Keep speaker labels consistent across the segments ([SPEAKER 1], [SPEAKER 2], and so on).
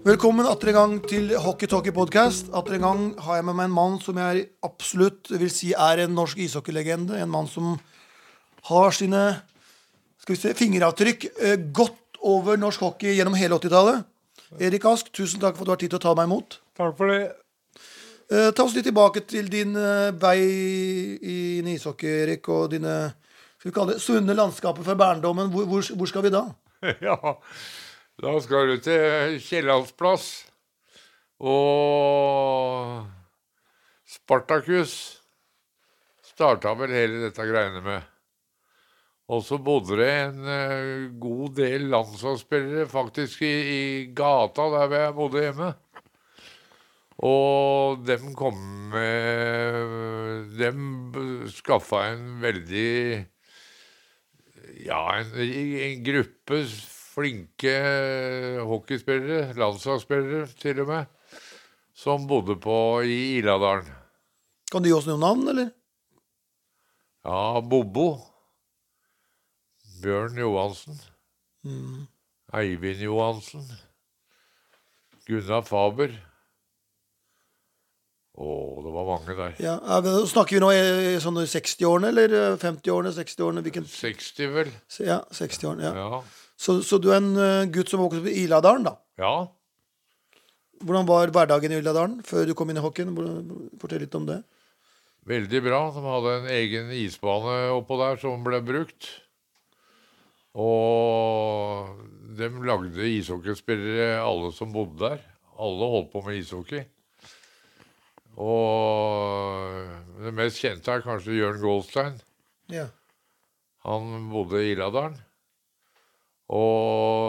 [SPEAKER 1] Velkommen atter en gang til Hockey Talkie Podcast. Atter en gang har jeg med meg en mann som jeg absolutt vil si er en norsk ishockeylegende. En mann som har sine skal vi se, fingeravtrykk eh, godt over norsk hockey gjennom hele 80-tallet. Erik Ask, tusen takk for at du har tid til å ta meg imot.
[SPEAKER 2] Takk for det.
[SPEAKER 1] Eh, ta oss litt tilbake til din eh, vei i- inn i ishockey, Erik, og dine skal vi kalle det, sunne landskaper fra barndommen. Hvor, hvor, hvor skal vi da?
[SPEAKER 2] Ja, da skal du til Kiellandsplass og Spartakus starta vel hele dette greiene med. Og så bodde det en eh, god del landslagsspillere faktisk i, i gata der hvor jeg bodde hjemme. Og dem kom med Dem skaffa en veldig ja, en, en gruppe flinke eh, hockeyspillere, landslagsspillere til og med, som bodde på i Iladalen.
[SPEAKER 1] Kan du gi oss noen navn, eller?
[SPEAKER 2] Ja, Bobo. Bjørn Johansen. Eivind Johansen. Gunnar Faber. Å, det var mange der.
[SPEAKER 1] Ja, er vi, snakker vi nå i, i sånne 60-årene, eller eh, 50-årene, 60-årene? Hvilken
[SPEAKER 2] 60, vel?
[SPEAKER 1] Se- Ja, 60-årene. Ja.
[SPEAKER 2] Ja.
[SPEAKER 1] Så, så du er en eh, gutt som vokste opp i Iladalen, da.
[SPEAKER 2] ja.
[SPEAKER 1] Hvordan var hverdagen i Iladalen før du kom inn i hockeyen? Hvordan- Fortell litt om det.
[SPEAKER 2] Veldig bra. De hadde en egen isbane oppå der som ble brukt. Og de lagde ishockeyspillere, alle som bodde der. Alle holdt på med ishockey. Og det mest kjente er kanskje Jørn Goldstein.
[SPEAKER 1] Ja.
[SPEAKER 2] Han bodde i Iladalen.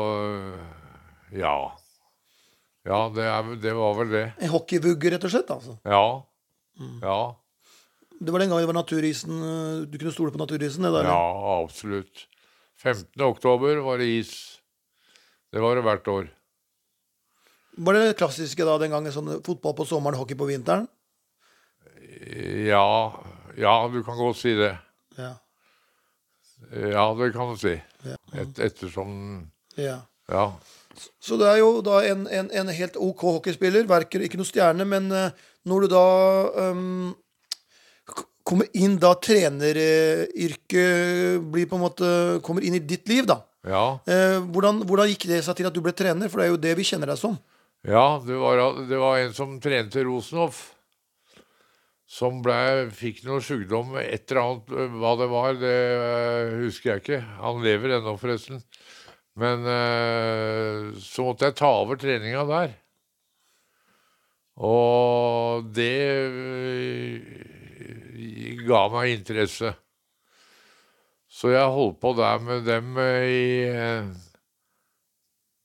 [SPEAKER 2] Og ja. Ja, det, er, det var vel det.
[SPEAKER 1] En hockeybugge, rett og slett. altså.
[SPEAKER 2] Ja. Ja.
[SPEAKER 1] Det var den gangen det var naturisen. eh, Du kunne stole på naturisen? det der.
[SPEAKER 2] Ja, absolutt. 15. oktober var det is. Det var det hvert år.
[SPEAKER 1] Var det det klassiske da den gangen? sånn Fotball på sommeren, hockey på vinteren?
[SPEAKER 2] Ja, ja du kan godt si det.
[SPEAKER 1] Ja.
[SPEAKER 2] Ja, det kan du si.
[SPEAKER 1] Ja.
[SPEAKER 2] Et, ettersom
[SPEAKER 1] ja.
[SPEAKER 2] Ja.
[SPEAKER 1] Så det er jo da en, en, en helt OK hockeyspiller. Verker ikke noe stjerne, men eh, når du da ehm, k- kommer inn da treneryrket blir på en måte Kommer inn i ditt liv, da.
[SPEAKER 2] Ja,
[SPEAKER 1] Eh, hvordan, hvordan gikk det seg til at du ble trener? For det er jo det vi kjenner deg som.
[SPEAKER 2] ja det, var, det var en som trente Rosenhoff. Som ble, fikk noe sykdom, et eller annet øh, hva det var, det øh, husker jeg ikke. Han lever ennå, forresten. Men øh, så måtte jeg ta over treninga der. Og det øh, ga meg interesse. Så jeg holdt på der med dem øh, i øh,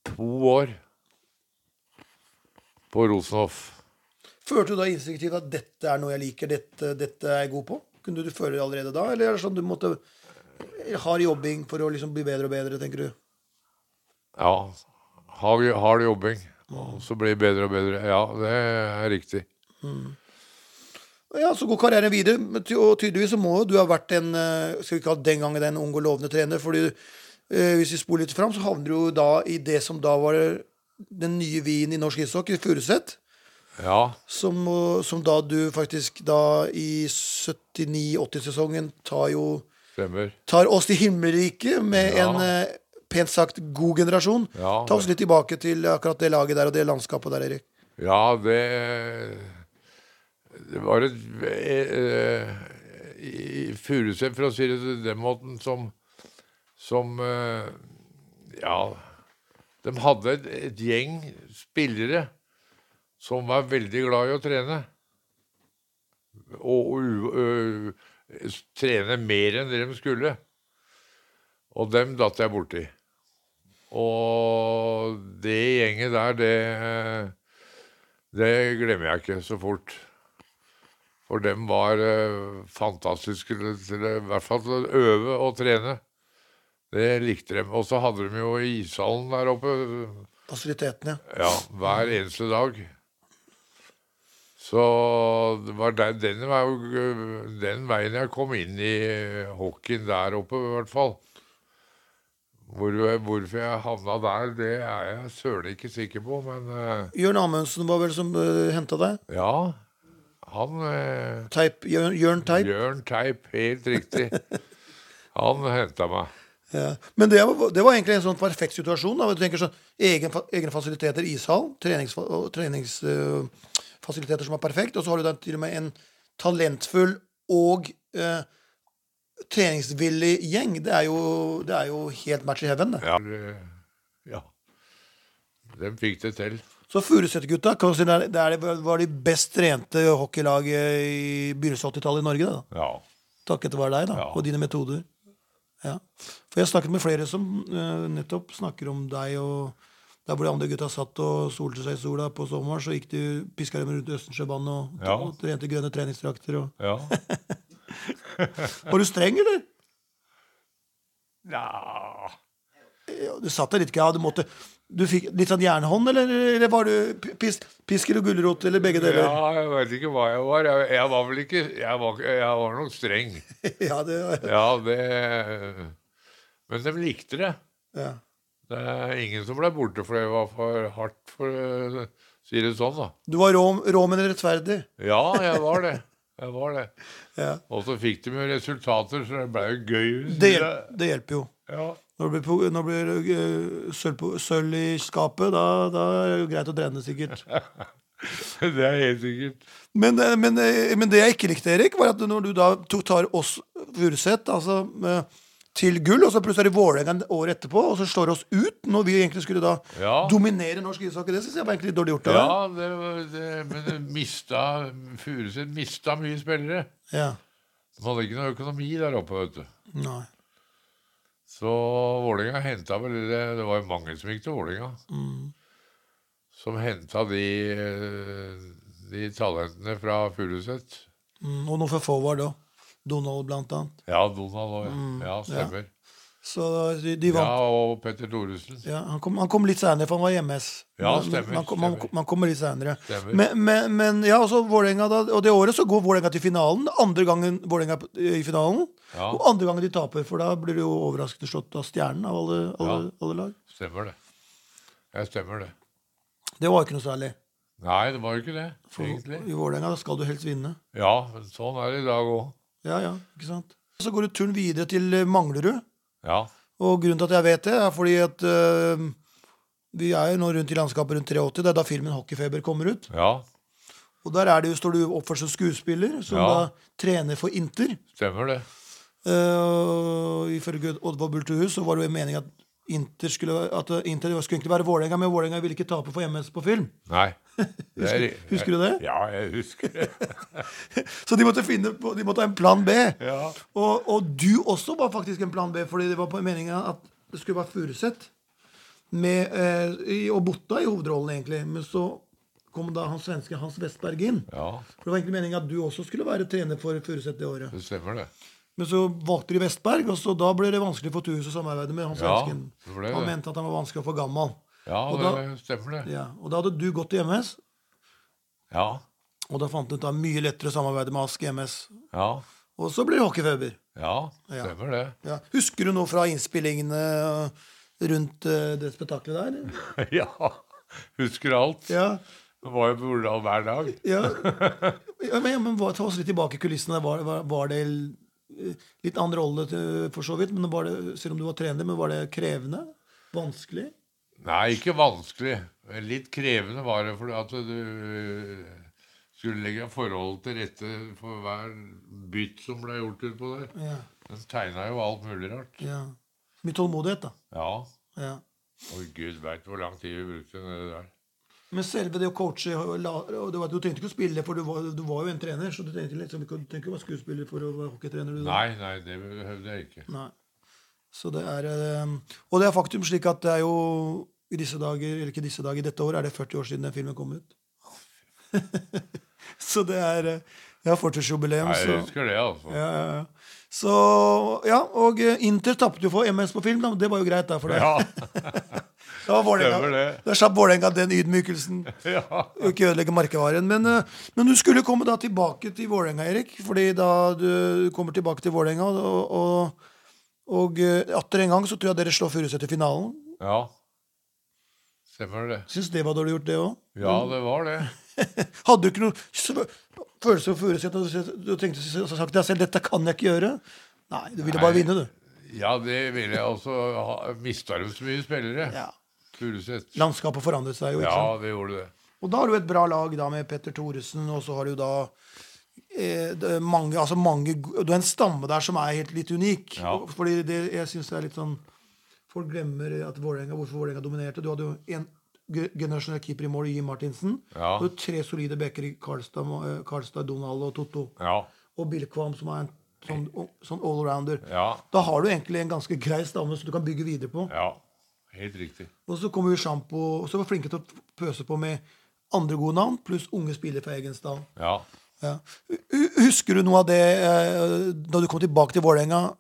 [SPEAKER 2] to år. På Rosenhoff.
[SPEAKER 1] Følte du da instinktivt at dette er noe jeg liker, dette, dette er jeg god på? Kunne du føle det allerede da, eller er det sånn du måtte hard jobbing for å liksom bli bedre og bedre, tenker du?
[SPEAKER 2] Ja. Hard, hard jobbing. Og så blir det bedre og bedre. Ja, det er riktig.
[SPEAKER 1] Ja, så går karrieren videre, men ty- og tydeligvis så må jo du ha vært en eh, Skal vi kalle den gangen en ung og lovende trener, fordi eh, hvis vi spoler litt fram, så havner du jo da i det som da var den nye vinen i norsk ishockey, Furuset,
[SPEAKER 2] Ja.
[SPEAKER 1] som, eh, som da du faktisk da i 79-80-sesongen tar jo
[SPEAKER 2] Stemmer.
[SPEAKER 1] Tar oss til himmelriket med
[SPEAKER 2] Ja.
[SPEAKER 1] en eh, pent sagt god generasjon.
[SPEAKER 2] Ja.
[SPEAKER 1] Ta oss litt tilbake til akkurat det laget der og det landskapet der, Erik.
[SPEAKER 2] Ja, det Det var et eh, i- i Furuset, for å si det på den måten, som Som eh, Ja. De hadde et, et gjeng spillere som var veldig glad i å trene. Og, og u- ø, s- trene mer enn det de skulle. Og dem datt jeg borti. Og det gjenget der, det eh, det glemmer jeg ikke så fort. For dem var eh, fantastiske til, til, i hvert fall til å øve og trene. Det likte dem. Og så hadde de jo ishallen der oppe
[SPEAKER 1] Fasilitetene.
[SPEAKER 2] ja, hver eneste dag. Så det var der, den, var jo, den veien jeg kom inn i hockeyen der oppe, i hvert fall. Hvor, hvorfor jeg havna der, det er jeg søren ikke sikker på, men eh,
[SPEAKER 1] Jørn Amundsen var vel som uh, henta deg?
[SPEAKER 2] ja. Han eh,
[SPEAKER 1] Teip, Jørn, Jørn Teip?
[SPEAKER 2] Jørn Teip, helt riktig. Han henta meg.
[SPEAKER 1] Ja. Men det var, det var egentlig en sånn perfekt situasjon. Da. Du tenker sånn, egen, fa- Egne fasiliteter, ishall, treningsfasiliteter trenings, øh, fasiliteter som er perfekt, og så har du da til og med en talentfull og øh, treningsvillig gjeng. Det er, jo, det er jo helt match i heaven. Det.
[SPEAKER 2] Ja. eh, ja. De fikk det til.
[SPEAKER 1] Så Furuset-gutta kan du si, det er- det er de- var de best trente hockeylaget i begynnelsen av 80-tallet i Norge. Da.
[SPEAKER 2] Ja.
[SPEAKER 1] Takket være deg, da,
[SPEAKER 2] Ja.
[SPEAKER 1] og dine metoder. Ja. For jeg har snakket med flere som eh, nettopp snakker om deg og der hvor de andre gutta satt og solte seg i sola på sommeren, så gikk du piska dem rundt Østensjøbanen og,
[SPEAKER 2] Ja.
[SPEAKER 1] og trente grønne treningsdrakter. Og...
[SPEAKER 2] ja.
[SPEAKER 1] Var du streng, eller?
[SPEAKER 2] Nja
[SPEAKER 1] Ja, Du satt der litt greia, du måtte Du fikk litt sånn jernhånd, eller, eller var du p- pis, pisk eller gulrot, eller begge deler?
[SPEAKER 2] Ja, jeg vet ikke hva jeg var. Jeg, jeg var vel ikke Jeg var, ikke- jeg var nok streng.
[SPEAKER 1] Ja, det
[SPEAKER 2] Ja, det Men de likte det.
[SPEAKER 1] ja.
[SPEAKER 2] Det er ingen som ble borte fordi det var for hardt, for å si det sånn, da.
[SPEAKER 1] Du var rå, rå men rettferdig.
[SPEAKER 2] Ja, jeg var det. Jeg var det.
[SPEAKER 1] Ja.
[SPEAKER 2] Og så fikk de jo resultater, så det ble jo gøy.
[SPEAKER 1] Det, hjel- det hjelper jo.
[SPEAKER 2] Ja.
[SPEAKER 1] Når det blir, po- når det blir eh, sølv, på, sølv i skapet, da, da er det jo greit å drene, sikkert.
[SPEAKER 2] Det er helt sikkert.
[SPEAKER 1] Men, eh, men, eh, men det jeg ikke likte, Erik, var at når du da tok, tar oss Furuset altså, eh, til gull, og så plutselig er det Vålerenga året etterpå, og så slår oss ut når vi egentlig skulle da
[SPEAKER 2] Ja.
[SPEAKER 1] dominere norsk ishockey. Det syns jeg var egentlig litt dårlig gjort av deg.
[SPEAKER 2] Ja, det, var- det, men det mista Furuset mista mye spillere.
[SPEAKER 1] Ja.
[SPEAKER 2] De hadde ikke noe økonomi der oppe, vet du.
[SPEAKER 1] Nei.
[SPEAKER 2] Så Vålinga henta vel det, det var jo mange som gikk til Vålinga.
[SPEAKER 1] Mm.
[SPEAKER 2] Som henta de, eh, de talentene fra Furuset.
[SPEAKER 1] Mm, og noe for få var det òg. Donald, blant annet.
[SPEAKER 2] Ja, Donald òg. Ja, stemmer.
[SPEAKER 1] Så de, Mm. de
[SPEAKER 2] Ja.
[SPEAKER 1] vant.
[SPEAKER 2] og Petter Thoresen.
[SPEAKER 1] Ja, han, kom, han kom litt seinere, for han var hjemmes.
[SPEAKER 2] Ja,
[SPEAKER 1] Men- men
[SPEAKER 2] stemmer,
[SPEAKER 1] Han kom, han,
[SPEAKER 2] stemmer.
[SPEAKER 1] kom- han kommer litt senere.
[SPEAKER 2] Stemmer.
[SPEAKER 1] Men, men, men ja, altså Vålerenga da, og det året så går Vålerenga til finalen. Andre gangen Vålerenga p- i finalen.
[SPEAKER 2] Ja.
[SPEAKER 1] Og andre gangen de taper, for da blir det jo overraskende slått av Stjernen av alle, alle,
[SPEAKER 2] Ja.
[SPEAKER 1] alle lag.
[SPEAKER 2] Stemmer det. Ja, stemmer det.
[SPEAKER 1] Det var ikke noe særlig.
[SPEAKER 2] Nei, det var jo ikke det,
[SPEAKER 1] For
[SPEAKER 2] egentlig.
[SPEAKER 1] I Vålerenga skal du helst vinne.
[SPEAKER 2] Ja, men sånn er det i dag òg.
[SPEAKER 1] Ja, ja, ikke sant? Så går du turen videre til eh, Manglerud.
[SPEAKER 2] Ja.
[SPEAKER 1] Og grunnen til at jeg vet det, er fordi at eh, vi er jo nå rundt i landskapet rundt 83. Det er da filmen 'Hockeyfeber' kommer ut.
[SPEAKER 2] ja,
[SPEAKER 1] Og der er det jo, står du oppført som skuespiller, som
[SPEAKER 2] Ja.
[SPEAKER 1] da trener for Inter.
[SPEAKER 2] stemmer det.
[SPEAKER 1] Uh, ifølge Oddvar Bultehus så var det jo meningen at Inter skulle, at Inter skulle egentlig være Vålerenga, men Vålerenga ville ikke tape for MS på film.
[SPEAKER 2] Nei. Det er-
[SPEAKER 1] Husker- husker du det?
[SPEAKER 2] Ja, jeg husker det.
[SPEAKER 1] Så de måtte, finne, på- de måtte ha en plan B.
[SPEAKER 2] Ja.
[SPEAKER 1] Og, og du også var faktisk en plan B, fordi det var på meninga at det skulle være Furuset med, eh, i- og Botta i hovedrollen, egentlig. Men så kom da han svenske Hans Westberg inn.
[SPEAKER 2] Ja,
[SPEAKER 1] For det var egentlig meninga at du også skulle være trener for Furuset det året.
[SPEAKER 2] det stemmer det.
[SPEAKER 1] Men så valgte de Vestberg, og så da ble det vanskelig for Tuhus å samarbeide med han
[SPEAKER 2] Ja,
[SPEAKER 1] svensken.
[SPEAKER 2] det ble
[SPEAKER 1] han
[SPEAKER 2] det.
[SPEAKER 1] mente at han var vanskelig og for gammel.
[SPEAKER 2] Ja,
[SPEAKER 1] og, da,
[SPEAKER 2] det stemmer det.
[SPEAKER 1] ja, og da hadde du gått til MS,
[SPEAKER 2] Ja.
[SPEAKER 1] og da fant du ut at det var mye lettere å samarbeide med Ask i MS.
[SPEAKER 2] Ja.
[SPEAKER 1] Og så blir det hockeyfeber.
[SPEAKER 2] Ja,
[SPEAKER 1] Ja.
[SPEAKER 2] stemmer det.
[SPEAKER 1] Ja. Husker du noe fra innspillingene rundt eh, det spetakkelet der? eller?
[SPEAKER 2] ja. Husker alt.
[SPEAKER 1] Ja.
[SPEAKER 2] Det var jo på Urdal hver dag.
[SPEAKER 1] ja. ja men, ja, men hva- ta oss litt tilbake i kulissene. Var, var, var det eh, litt annen rolle til, for så vidt, men var det, selv om du var trener, men var det krevende? Vanskelig?
[SPEAKER 2] Nei, ikke vanskelig. Litt krevende var det, fordi at du eh, skulle legge forholdet til rette for hver bytt som ble gjort utpå der.
[SPEAKER 1] Ja.
[SPEAKER 2] Den tegna jo alt mulig rart.
[SPEAKER 1] Ja. Mye tålmodighet, da.
[SPEAKER 2] Ja.
[SPEAKER 1] Ja.
[SPEAKER 2] Og gud veit hvor lang tid vi brukte nede der.
[SPEAKER 1] Men selve det å coache og la, og det var, Du trengte ikke å spille, for du var, du var jo en trener. Så du trengte liksom ikke, å- du trengte ikke å være skuespiller for å være hockeytrener. Du, da.
[SPEAKER 2] Nei, nei, det behøvde jeg ikke.
[SPEAKER 1] Nei. Så det er eh, Og det er faktum slik at det er jo i disse dager, eller ikke disse dager, i dette året er det 40 år siden den filmen kom ut. så det er eh, Jeg har 40-årsjubileum,
[SPEAKER 2] Nei,
[SPEAKER 1] så
[SPEAKER 2] jeg husker det, altså.
[SPEAKER 1] ja, ja, ja. Så Ja, og eh, Inter tapte jo for MS på film, da. men Det var jo greit, da. For det,
[SPEAKER 2] Ja.
[SPEAKER 1] det var
[SPEAKER 2] stemmer
[SPEAKER 1] Vålerenga.
[SPEAKER 2] det.
[SPEAKER 1] Da slapp Vålerenga den ydmykelsen.
[SPEAKER 2] ja.
[SPEAKER 1] Og ikke ødelegge merkevaren. Men, eh, men du skulle komme da tilbake til Vålerenga, Erik. Fordi da du kommer tilbake til Vålerenga, og, og Og eh, atter en gang så tror jeg dere slår Furuset i finalen.
[SPEAKER 2] Ja. Stemmer det.
[SPEAKER 1] Syns det var dårlig gjort, det òg.
[SPEAKER 2] Ja, det var det.
[SPEAKER 1] Hadde du ikke noe sv- følelse for Furuset? og du- Du tenkte så så sagt til deg selv 'dette kan jeg ikke gjøre'? Nei, du ville bare
[SPEAKER 2] Nei.
[SPEAKER 1] vinne, du.
[SPEAKER 2] Ja, det ville jeg altså. Mista de så mye spillere?
[SPEAKER 1] Ja.
[SPEAKER 2] Furuset.
[SPEAKER 1] Landskapet forandret seg jo. ikke sant?
[SPEAKER 2] Ja, det gjorde det.
[SPEAKER 1] Og da har du et bra lag da med Petter Thoresen, og så har du da eh, det er mange, altså mange go- Du har en stamme der som er helt litt unik.
[SPEAKER 2] Ja.
[SPEAKER 1] Og- Fordi det, jeg syns det er litt sånn Folk glemmer at Vålerenga, hvorfor Vålerenga dominerte. Du hadde jo en ge- generasjonell keeper i mål, Jim Martinsen.
[SPEAKER 2] Ja.
[SPEAKER 1] Og tre solide backer i Karlstad, eh, Karlstad, Donald og Totto.
[SPEAKER 2] Ja.
[SPEAKER 1] Og Bilkvam, som er en sånn, sånn allrounder.
[SPEAKER 2] Ja.
[SPEAKER 1] Da har du egentlig en ganske grei stamme som du kan bygge videre på.
[SPEAKER 2] ja. Helt riktig.
[SPEAKER 1] Og så kommer jo Sjampo, og så var flinke til å pøse på med andre gode navn, pluss unge spillere fra Egensdal.
[SPEAKER 2] Ja.
[SPEAKER 1] Ja. Hu- Husker du noe av det eh, da du kom tilbake til Vålerenga?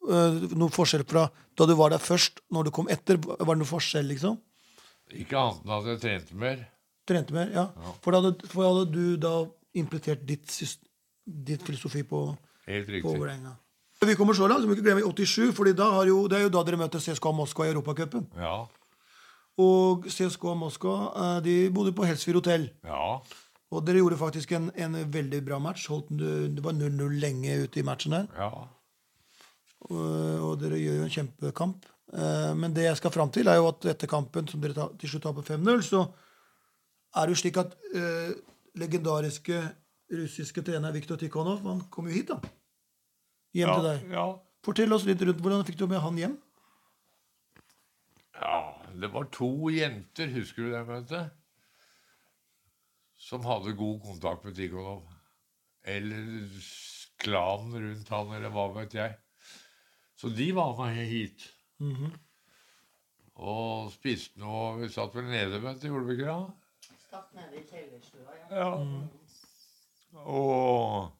[SPEAKER 1] eh, Noe forskjell fra da du var der først, når du kom etter? Var det noe forskjell, liksom?
[SPEAKER 2] Ikke annet enn at jeg trente mer.
[SPEAKER 1] Trente mer? Ja. For, da hadde, for hadde du da implementert ditt, sys- ditt filosofi på,
[SPEAKER 2] Helt
[SPEAKER 1] på
[SPEAKER 2] riktig.
[SPEAKER 1] Vålerenga? Vi kommer så langt, så må vi ikke glemme 87, for det er jo da dere møter CSKA Moskva i Europacupen.
[SPEAKER 2] Ja.
[SPEAKER 1] Og CSKA Moskva eh, de bodde på Helsfyr hotell.
[SPEAKER 2] Ja.
[SPEAKER 1] Og dere gjorde faktisk en, en veldig bra match. Holdt, den- det var 0-0 lenge ute i matchen der.
[SPEAKER 2] Ja.
[SPEAKER 1] Og, og dere gjør jo en kjempekamp. Eh, Men det jeg skal fram til, er jo at etter kampen, som dere ta, til slutt taper 5-0, så er det jo slik at eh, legendariske russiske trener Viktor Tikhonov han kom jo hit, da. Hjem til
[SPEAKER 2] Ja.
[SPEAKER 1] deg.
[SPEAKER 2] ja.
[SPEAKER 1] Fortell oss litt rundt hvordan fikk du med han hjem.
[SPEAKER 2] ja. Det var to jenter, husker du det, vet du? Som hadde god kontakt med Tikhonov. Eller s- klanen rundt han, eller hva vet jeg. Så de var med hit. Og spiste noe Vi satt vel nede, vet du. Gjorde vi ikke det?
[SPEAKER 3] Satt nede er i kjellerstua, ja.
[SPEAKER 2] Ja. Og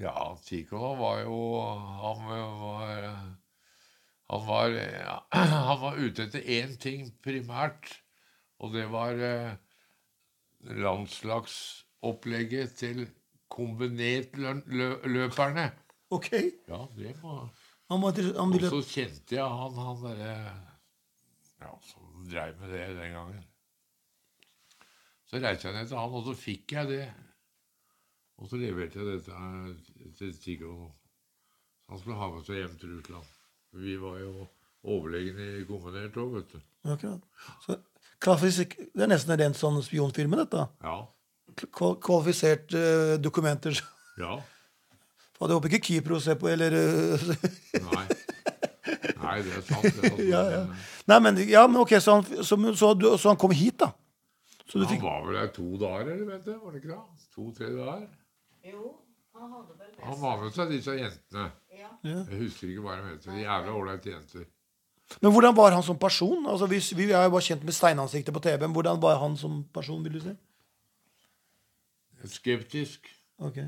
[SPEAKER 2] Ja, Tikhonov var jo Han var Han var, ja, han var ute etter én ting primært, og det var eh, landslagsopplegget til kombinertløperne.
[SPEAKER 1] Ok?
[SPEAKER 2] Ja, det var
[SPEAKER 1] Han, var, inter- han
[SPEAKER 2] Og
[SPEAKER 1] ville
[SPEAKER 2] så kjente jeg han, han derre ja, som dreiv med det den gangen. Så reiste jeg ned til han, og så fikk jeg det. Og så leverte jeg dette her til Tigo. Han skulle ha med seg hjem til Russland. Vi var jo overlegne i kombinert òg, vet du.
[SPEAKER 1] Akkurat. Så, klassisk, det er nesten en ren sånn spionfilm, dette.
[SPEAKER 2] Ja.
[SPEAKER 1] Kval- Kvalifiserte eh, dokumenter.
[SPEAKER 2] Ja.
[SPEAKER 1] Fader, jeg håper ikke Kypros ser på, eller eh,
[SPEAKER 2] Nei. Nei, det er sant. Det altså. er sant.
[SPEAKER 1] Ja, ja. Nei, men, ja, men ok, så han, så, så, du- så han kom hit, da. Så du
[SPEAKER 2] Han
[SPEAKER 1] fikk
[SPEAKER 2] var vel der to dager, eller vet du? Var det ikke det? To-tre dager.
[SPEAKER 3] Jo, han hadde vel med
[SPEAKER 2] Han var med seg disse jentene.
[SPEAKER 3] seg ja.
[SPEAKER 2] Jeg husker ikke hva de heter. Jævla ålreite jenter.
[SPEAKER 1] Men hvordan var han som person? Altså, vi, vi er jo bare kjent med steinansiktet på TV, men hvordan var han som person, vil du si?
[SPEAKER 2] Skeptisk
[SPEAKER 1] Ok.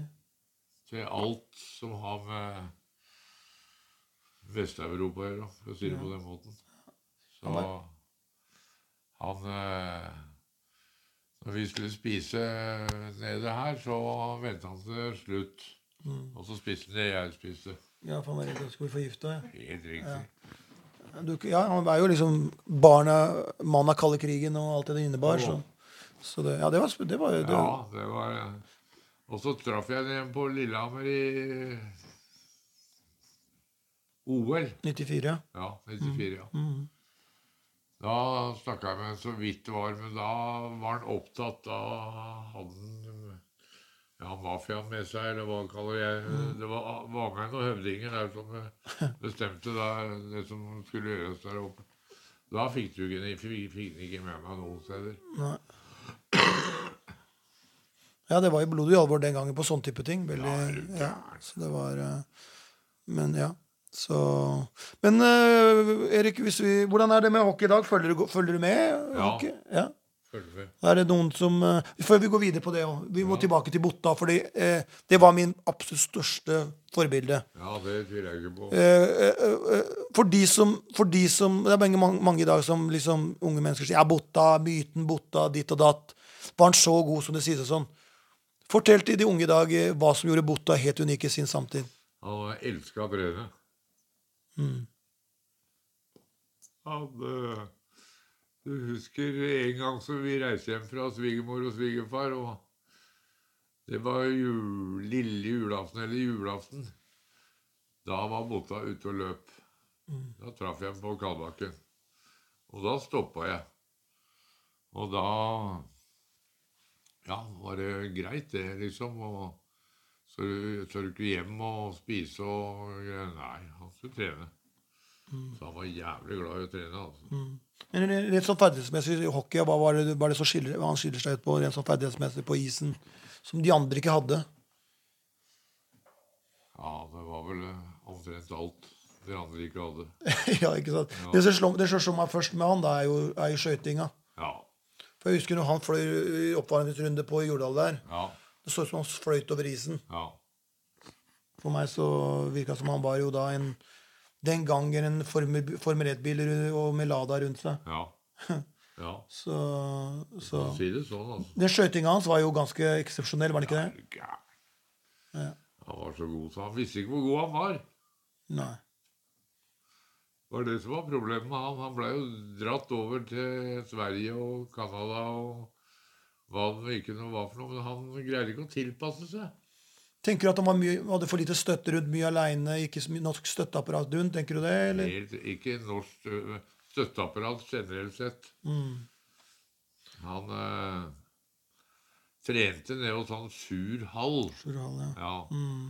[SPEAKER 2] til alt som har med Vest-Europa å gjøre, for å si det på den måten. Så han eh, Når vi skulle spise nede her, så ventet han til slutt. Og så spiste han det jeg spiste.
[SPEAKER 1] Ja, for han var redd han skulle bli forgifta.
[SPEAKER 2] Helt riktig.
[SPEAKER 1] Ja, han er jo liksom barna, mann av kalde krigen og alt det det innebar. Så, så det, ja, det var, sp- det var jo det,
[SPEAKER 2] Ja, det var eh, Og så traff jeg den på Lillehammer i OL.
[SPEAKER 1] 94.
[SPEAKER 2] Ja, 94, ja. Da snakka jeg med ham så vidt det var, men da var han opptatt. Da hadde han ja, mafiaen med seg, eller hva han kaller jeg Det var Vangen og høvdingen der som eh, bestemte da, det som skulle gjøres der oppe. Da fikk du ikke, fikk, fikk den ikke med meg noen steder.
[SPEAKER 1] Nei. Ja, det var jo blodig alvor den gangen på sånn type ting. Veldig, ja, så det var eh, Men ja. Så Men eh, Erik, hvis vi, hvordan er det med hockey i dag? Følger du, følger du med?
[SPEAKER 2] Ja.
[SPEAKER 1] Hockey? ja.
[SPEAKER 2] Følger med.
[SPEAKER 1] Er det noen som eh, Før vi går videre på det òg, vi må tilbake til Botta, fordi eh, det var min absolutt største forbilde.
[SPEAKER 2] Ja, det tviler jeg ikke på.
[SPEAKER 1] Eh, eh, eh, for de som, for de som Det er mange, mange, mange i dag som liksom, unge mennesker sier ja, Botta, myten Botta, ditt og datt. Var han så god som det sies og sånn? Fortell til de unge i dag eh, hva som gjorde Botta helt unik i sin samtid.
[SPEAKER 2] Han elska brødet. Han, eh, du husker en gang som vi reiste hjem fra svigermor og svigerfar, og det var jul, lille julaften eller julaften. Da var Botta ute og løp. Da traff jeg ham på Kalbakken. Og da stoppa jeg. Og da ja, var det greit, det, liksom. Og så tør du ikke hjem og spise og greier. Nei, han skulle trene. Så han var jævlig glad i å trene. altså.
[SPEAKER 1] Men rent- rent sånn ferdighetsmessig i hockey, hva var det, var det som skiller, hva han skiller seg ut på rent sånn ferdighetsmessig på isen, som de andre ikke hadde?
[SPEAKER 2] Ja, det var vel eh, omtrent alt de andre ikke hadde.
[SPEAKER 1] ja, ikke sant? Det som slår, det som slår meg først med han, da, er jo, er jo skøytinga.
[SPEAKER 2] Ja.
[SPEAKER 1] For jeg husker når han fløy i oppvarmingsrunde på Jordal der.
[SPEAKER 2] Ja.
[SPEAKER 1] Det så ut som han fløyt over isen.
[SPEAKER 2] Ja.
[SPEAKER 1] For meg så virka det som han var jo da en den gangen en Formel, Formel 1-bil ru- og med Lada rundt seg.
[SPEAKER 2] Ja. ja.
[SPEAKER 1] Så, så.
[SPEAKER 2] Si det sånn, altså.
[SPEAKER 1] Den skøytinga hans var jo ganske eksepsjonell, var den ikke
[SPEAKER 2] Er
[SPEAKER 1] det?
[SPEAKER 2] du gæren?
[SPEAKER 1] Ja.
[SPEAKER 2] Han var så god, så han visste ikke hvor god han var.
[SPEAKER 1] Nei.
[SPEAKER 2] Det var det som var problemet med han. Han ble jo dratt over til Sverige og Canada og hva det ikke noe var for noe. Men han greide ikke å tilpasse seg.
[SPEAKER 1] Tenker du at han var mye, hadde for lite støtte rundt, mye aleine, ikke så mye norsk støtteapparat rundt? Tenker du det, eller?
[SPEAKER 2] Helt, ikke norsk ø, støtteapparat generelt sett.
[SPEAKER 1] Mm,
[SPEAKER 2] Han eh, trente ned hos han Sur Hall.
[SPEAKER 1] Plural, ja.
[SPEAKER 2] Ja.
[SPEAKER 1] Mm.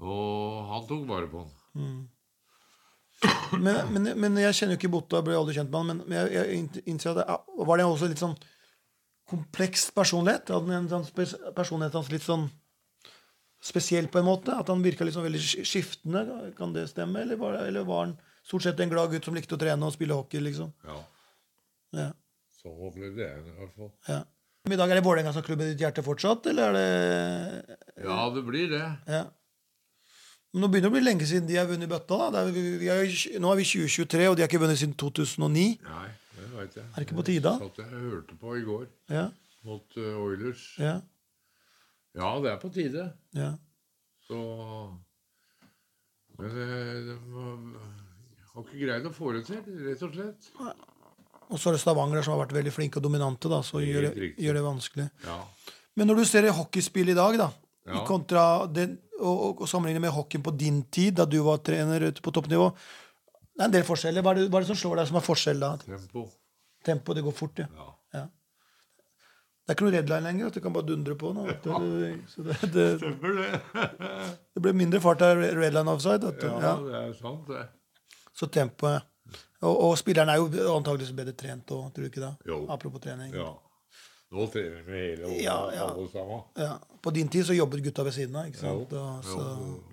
[SPEAKER 2] Og han tok vare på han.
[SPEAKER 1] Men, men, men jeg kjenner jo ikke Botta, ble aldri kjent med han, men- men jeg, jeg inn- innser at det, var det også litt sånn kompleks personlighet? Hadde han en sånn spes, personlighet hans litt sånn spesiell på en måte? At han virka liksom veldig sk- skiftende? Kan det stemme? Eller var, eller var han stort sett en glad gutt som likte å trene og spille hockey, liksom?
[SPEAKER 2] Ja.
[SPEAKER 1] Ja,
[SPEAKER 2] Sånn opplevde jeg det i hvert fall.
[SPEAKER 1] ja. Men I dag er det Vålerenga som klubben i ditt hjerte fortsatt, eller er det
[SPEAKER 2] Ja, det blir det.
[SPEAKER 1] Ja. Men nå begynner det å bli lenge siden de har vunnet bøtta. da. Det er, vi, vi er, jo- nå er vi 2023, og de har ikke vunnet siden 2009.
[SPEAKER 2] Nei, det veit jeg.
[SPEAKER 1] Er det ikke på tide, da?
[SPEAKER 2] Satt jeg og hørte på i går
[SPEAKER 1] Ja,
[SPEAKER 2] mot ø, Oilers.
[SPEAKER 1] ja,
[SPEAKER 2] Ja, det er på tide.
[SPEAKER 1] ja.
[SPEAKER 2] Så Men eh, de har ikke greid å få det til, rett og slett.
[SPEAKER 1] Og så er det Stavanger som har vært veldig flinke og dominante, da, så
[SPEAKER 2] Helt
[SPEAKER 1] gjør det,
[SPEAKER 2] riktig.
[SPEAKER 1] gjør det vanskelig.
[SPEAKER 2] Ja.
[SPEAKER 1] Men når du ser hockeyspill i dag, da, i
[SPEAKER 2] Ja.
[SPEAKER 1] kontra den, og, og, og sammenligner med hockeyen på din tid, da du var trener ute på toppnivå Det er en del forskjeller. Hva er det, hva er det som slår deg som er forskjell, da?
[SPEAKER 2] Tempo.
[SPEAKER 1] Tempo, det går fort, ja.
[SPEAKER 2] Ja.
[SPEAKER 1] ja. Det er ikke noe redline lenger. At du kan bare dundre på nå. vet du. Så det, det,
[SPEAKER 2] Stemmer det.
[SPEAKER 1] det ble mindre fart av redline offside. Vet du.
[SPEAKER 2] ja,
[SPEAKER 1] Ja.
[SPEAKER 2] det er sant, det.
[SPEAKER 1] Så tempoet og, og spilleren er jo antakeligvis bedre trent òg, tror du ikke det?
[SPEAKER 2] Jo.
[SPEAKER 1] Apropos trening.
[SPEAKER 2] Ja. Nå trener vi hele året,
[SPEAKER 1] Ja, ja.
[SPEAKER 2] alle sammen.
[SPEAKER 1] Ja. På din tid så jobbet gutta ved siden av, ikke
[SPEAKER 2] Jo,
[SPEAKER 1] sant? Og så,
[SPEAKER 2] jo.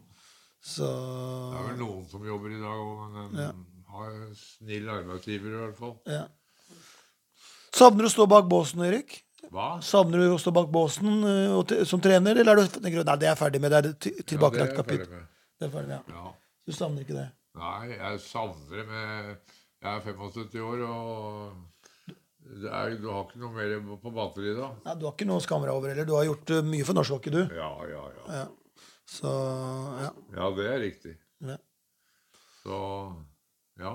[SPEAKER 1] så
[SPEAKER 2] Det er vel noen som jobber i dag òg, men de har en snill arbeidsgiver i hvert fall.
[SPEAKER 1] ja. Savner du å stå bak båsen, Erik?
[SPEAKER 2] Hva?
[SPEAKER 1] Savner du å stå bak båsen eh, og te- som trener, eller er du, tenker du nei, det er jeg ferdig med? Det er ti- tilbakelagt
[SPEAKER 2] Ja, det er jeg
[SPEAKER 1] kapittel.
[SPEAKER 2] ferdig med.
[SPEAKER 1] Det er ferdig, ja.
[SPEAKER 2] Ja.
[SPEAKER 1] Du savner ikke det?
[SPEAKER 2] Nei, jeg savner det med Jeg er 75 år, og det er, du har ikke noe mer på batteri da.
[SPEAKER 1] Nei, Du har ikke noe å skamme deg over heller. Du har gjort eh, mye for norsk hockey, du.
[SPEAKER 2] Ja, ja, ja.
[SPEAKER 1] Ja. Så ja.
[SPEAKER 2] Ja, det er riktig.
[SPEAKER 1] ja.
[SPEAKER 2] Så ja.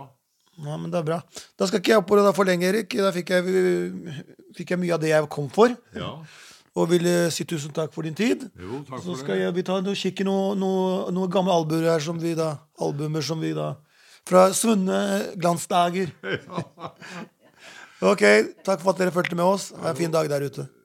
[SPEAKER 1] Ja, men det er bra. Da skal ikke jeg oppholde deg for lenge, Erik. Da fikk jeg, eh, fikk jeg mye av det jeg kom for.
[SPEAKER 2] ja.
[SPEAKER 1] Og vil eh, si tusen takk for din tid.
[SPEAKER 2] Jo, takk
[SPEAKER 1] Så
[SPEAKER 2] for
[SPEAKER 1] skal
[SPEAKER 2] det.
[SPEAKER 1] jeg, vi ta noe, kikke i noe- noe- noen gamle albuer her som vi da, albumer som vi da Fra svunne glansdager. Ok, takk for at dere fulgte med oss. Ha en fin dag der ute.